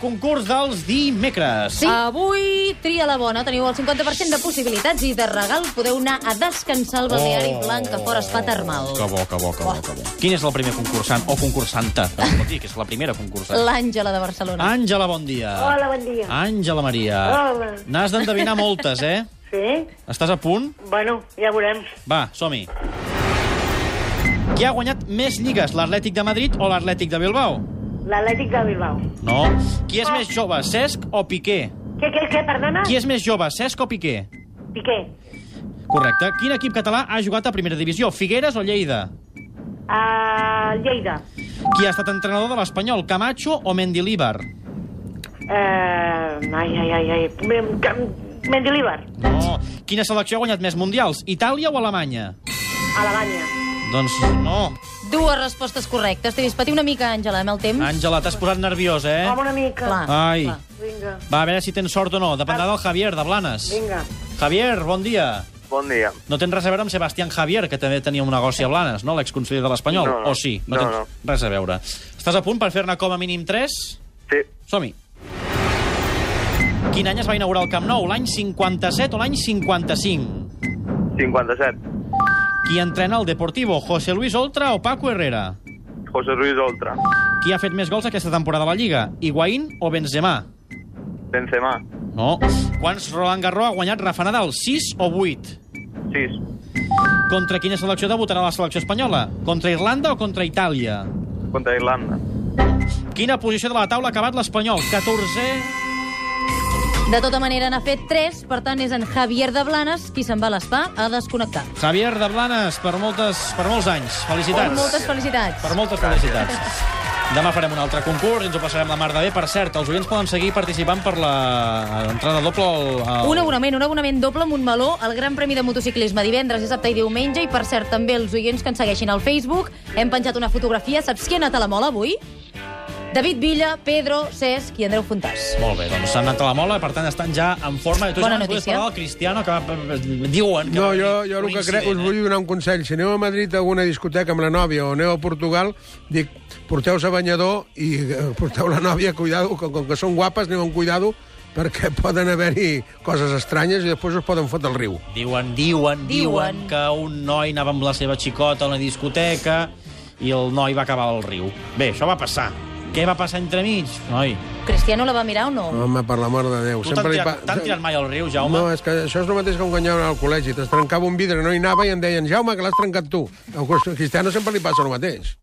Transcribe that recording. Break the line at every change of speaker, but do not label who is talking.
concurs dels dimecres.
Sí.
Avui, tria la bona. Teniu el 50% de possibilitats i de regal podeu anar a descansar al Baleari
Oh.
oh. Blanc, que fora es fa termal.
Que bo, que bo, que bo, que bo.
Quin és el primer concursant o concursanta? Es pot dir que és la primera concursant.
L'Àngela de
Ah.
Barcelona.
Àngela, bon dia.
Hola, bon dia.
Àngela Maria.
Hola.
N'has d'endevinar moltes, eh?
Sí?
Estàs a punt?
Bueno, ja veurem.
Va, som-hi. Qui ha guanyat més lligues, l'Atlètic de Madrid o l'Atlètic de Bilbao?
L'Atlètic de Bilbao.
No. Qui és més jove, Cesc o Piqué?
Què, què, què, perdona?
Qui és més jove, Cesc o Piqué?
Piqué.
Correcte. Quin equip català ha jugat a primera divisió, Figueres o Lleida?
Uh, Lleida.
Qui ha estat entrenador de l'Espanyol, Camacho o Mendilíbar?
Uh, ai, ai, ai, ai. Mem- Cam- Mendilibar.
No. Quina selecció ha guanyat més mundials, Itàlia o Alemanya?
Alemanya.
Doncs no.
Dues respostes correctes. T'he vist patir una mica, Àngela, eh, amb el temps.
Àngela, t'has posat nerviosa,
Eh?
eh?
Home, una mica.
Clar.
Ai.
clar.
Vinga,
Va, a veure si tens sort o no. Dependrà del Javier, de Blanes.
vinga.
Javier, bon dia.
Bon dia.
No tens res a veure amb Sebastián Javier, que també tenia un negoci a Blanes, no? L'exconseller de l'Espanyol.
No, no.
O sí?
No,
tens res a veure. Estàs a punt per fer-ne com a mínim 3?
Sí,
Som-hi. Quin any es va inaugurar el Camp Nou? L'any 57 o l'any 55?
57.
Qui entrena el Deportivo? José Luis Oltra o Paco Herrera?
José Ruiz Oltra.
Qui ha fet més gols aquesta temporada a la Lliga? Higuaín o Benzema?
Benzema.
No. Quants Roland Garros ha guanyat Rafa Nadal? 6 o 8?
6.
Contra quina selecció debutarà la selecció espanyola? Contra Irlanda o contra Itàlia?
Contra Irlanda.
Quina posició de la taula ha acabat l'Espanyol? 14...
De tota manera, n'ha fet tres, per tant, és en Javier de Blanes qui se'n va a l'espa a desconnectar.
Javier de Blanes, per, moltes, per molts anys. Felicitats.
Moltes felicitats.
Per moltes felicitats. Demà farem un altre concurs, ens ho passarem la mar de bé. Per cert, els oients poden seguir participant per l'entrada doble al... al...
Un abonament, un abonament doble amb un meló al Gran Premi de Motociclisme divendres, dissabte i diumenge. I, per cert, també els oients que ens segueixin al Facebook. Hem penjat una fotografia. Saps qui ha anat a la mola avui? David Villa, Pedro, Cesc i Andreu Fontàs.
Molt bé, doncs s'han anat a la mola, per tant estan ja en forma. I tu,
Bona
Joan, podies
notícia.
parlar del Cristiano, que va, diuen... Que eh?
No,
va
jo,
tenir
jo
un
el que crec, us
incident,
vull donar un consell. Si aneu a Madrid a alguna discoteca amb la nòvia o aneu a Portugal, dic, porteu-se banyador i eh, porteu la nòvia, cuidado, com, com que són guapes, aneu amb cuidado, perquè poden haver-hi coses estranyes i després us poden fotre al riu.
eh? Diuen, diuen, diuen,
Diuen.
que un noi anava amb la seva xicota a una discoteca i el noi va acabar al riu. Bé, això va passar. Què va passar entremig, noi?
Cristiano la va mirar o no?
Home, per l'amor de Déu.
Tu t'han
li
tirat, t'han tirat mai al riu, Jaume?
No, és que això és el mateix com quan hi al col·legi. T'es trencava un vidre, no hi anava i em deien, Jaume, que l'has trencat tu. Al Cristiano sempre li passa el mateix.